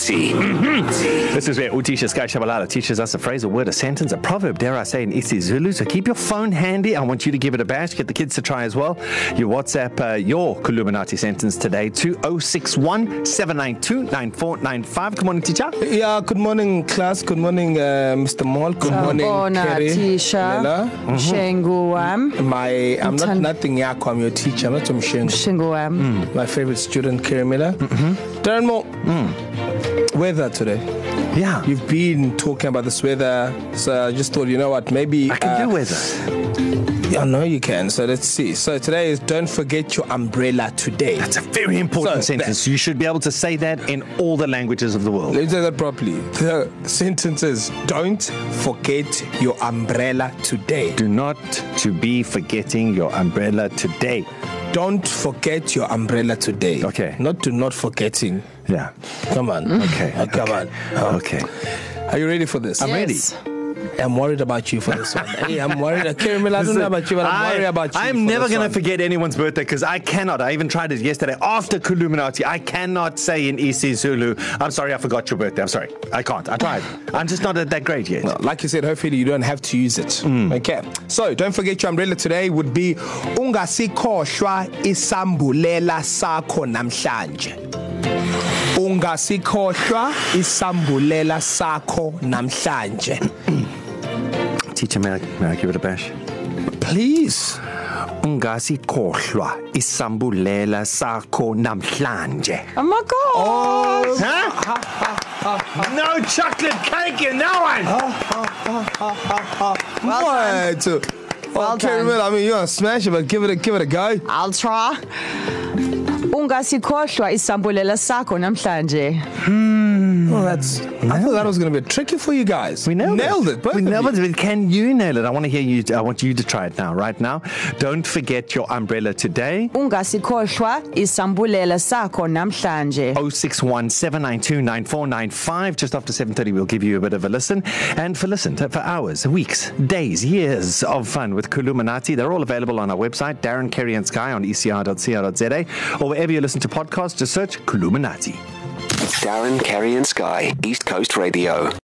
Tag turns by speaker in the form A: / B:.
A: Kulumanati.
B: This is where Utisha Sky Shabalala teaches us a phrase, a word, a sentence, a proverb, dare I say, in isiZulu. So keep your phone handy. I want you to give it a bash. Get the kids to try as well. You WhatsApp uh, your Kuluminati sentence today oh to 061 792 9495. Good morning, teacher.
C: Yeah, good morning, class. Good morning, uh, Mr. Mall. Good morning,
D: Bona,
C: Kerry.
D: Tisha,
C: Lela. Mm-hmm. Mm.
D: Mshengu wam,
C: My, I'm not
D: Mthan-
C: nothing yako. I'm your teacher. I'm not your mshengu.
D: Mshengu wam.
C: My favorite student, Kerry Miller. Mm-hmm. Darren Moore, mm. weather today.
B: Yeah.
C: You've been talking about this weather, so I just thought, you know what, maybe
B: I can
C: uh,
B: do weather.
C: I know you can. So let's see. So today is don't forget your umbrella today.
B: It's a very important
C: So,
B: sentence. You should be able to say that in all the languages of the world.
C: Let me say that properly. The sentence is don't forget your umbrella today.
B: Do not to be forgetting your umbrella today.
C: Don't forget your umbrella today.
B: Okay.
C: Not do not forgetting.
B: Yeah.
C: Come on.
B: Okay.
C: Oh, come
B: okay.
C: on.
B: Okay.
C: Are you ready for this?
B: I'm ready.
D: Yes.
C: I'm worried about you for this one. hey, I'm worried. Kermel, I don't know about you, but I'm worried about you.
B: I'm
C: for
B: never
C: this
B: going
C: one.
B: to forget anyone's birthday because I cannot. I even tried it yesterday after Kuluminati. I cannot say in isiZulu, I'm sorry, I forgot your birthday. I'm sorry. I can't. I tried. I'm just not at that grade yet.
C: No, like you said, hopefully you don't have to use it. Mm. Okay. So don't forget your umbrella today would be ungasikhohlwa isambulela sakho namhlanje. Ungasikhohlwa isambulela sakho namhlanje.
B: Teacher, may I, may I give it a bash?
C: Please.
B: Ungasikhohlwa isambulela sakho namhlanje.
D: Oh my god! Oh.
B: Huh? no chocolate cake in that one.
C: Well what? Done.
D: Well
C: okay,
D: done.
C: well, I mean, you're gonna smash it, but give it a give it a go.
D: I'll try. Ungasikhohlwa isambulela sakho namhlanje.
C: Oh, that's. I thought that was gonna be tricky for you guys.
B: We nailed,
C: nailed
B: it.
C: it. both
B: we
C: of you.
B: nailed it. Can you nail it? I want to hear you. I want you to try it now, right now. Don't forget your umbrella today.
D: Ungasikhohlwa isambulela sakho namhlanje.
B: 061 792 9495. Just after 7.30, we'll give you a bit of a listen. And for listen, to- for hours, weeks, days, years of fun with Kuluminati. They're all available on our website, Darren, Kerry and Sky on E ecr.co.za. Or wherever you listen to podcasts, just search Kuluminati.
A: Darren, Kerry, and Sky, East Coast Radio.